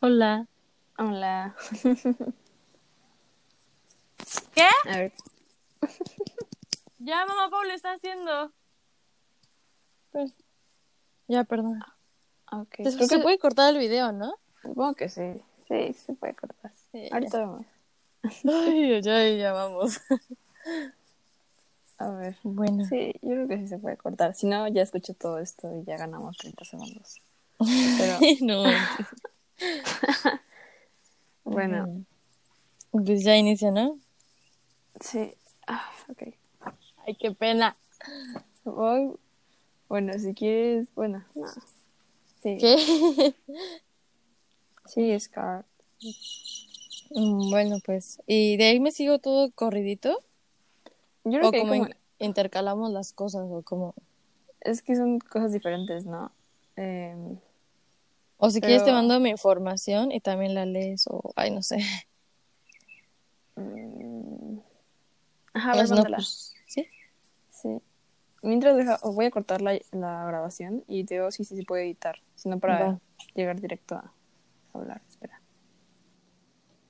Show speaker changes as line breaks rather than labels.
Hola.
Hola.
¿Qué?
A ver.
Ya, mamá Pablo está haciendo.
Pues, ya, perdón.
Ok.
Creo que puede cortar el video, ¿no?
Supongo que sí. Sí, se puede cortar.
Sí,
Ahorita vemos.
Ay, ay, ay, ya vamos.
A ver.
Bueno.
Sí, yo creo que sí se puede cortar. Si no, ya escuché todo esto y ya ganamos 30 segundos. Pero
no.
bueno,
Pues ya inicia, ¿no?
sí. Ah, ok.
Ay, qué pena.
Voy. Bueno, si quieres. Bueno, no. Sí.
¿Qué?
Sí, Scar.
Mm, bueno, pues. ¿Y de ahí me sigo todo corridito?
Yo creo
¿O
que hay
como,
como...
in- intercalamos las cosas? ¿O como.?
Es que son cosas diferentes, ¿no? Em,
O si quieres te
Pero-
mando mi información y también la lees o... Ay, no sé.
mm, Ajá, a ver,
Es no,
mándala.
pues, ¿Sí?
Sí. Mientras deja, o voy a cortar la, la grabación y te digo si sí se puede editar, sino para
Va.
llegar directo a hablar. Espera.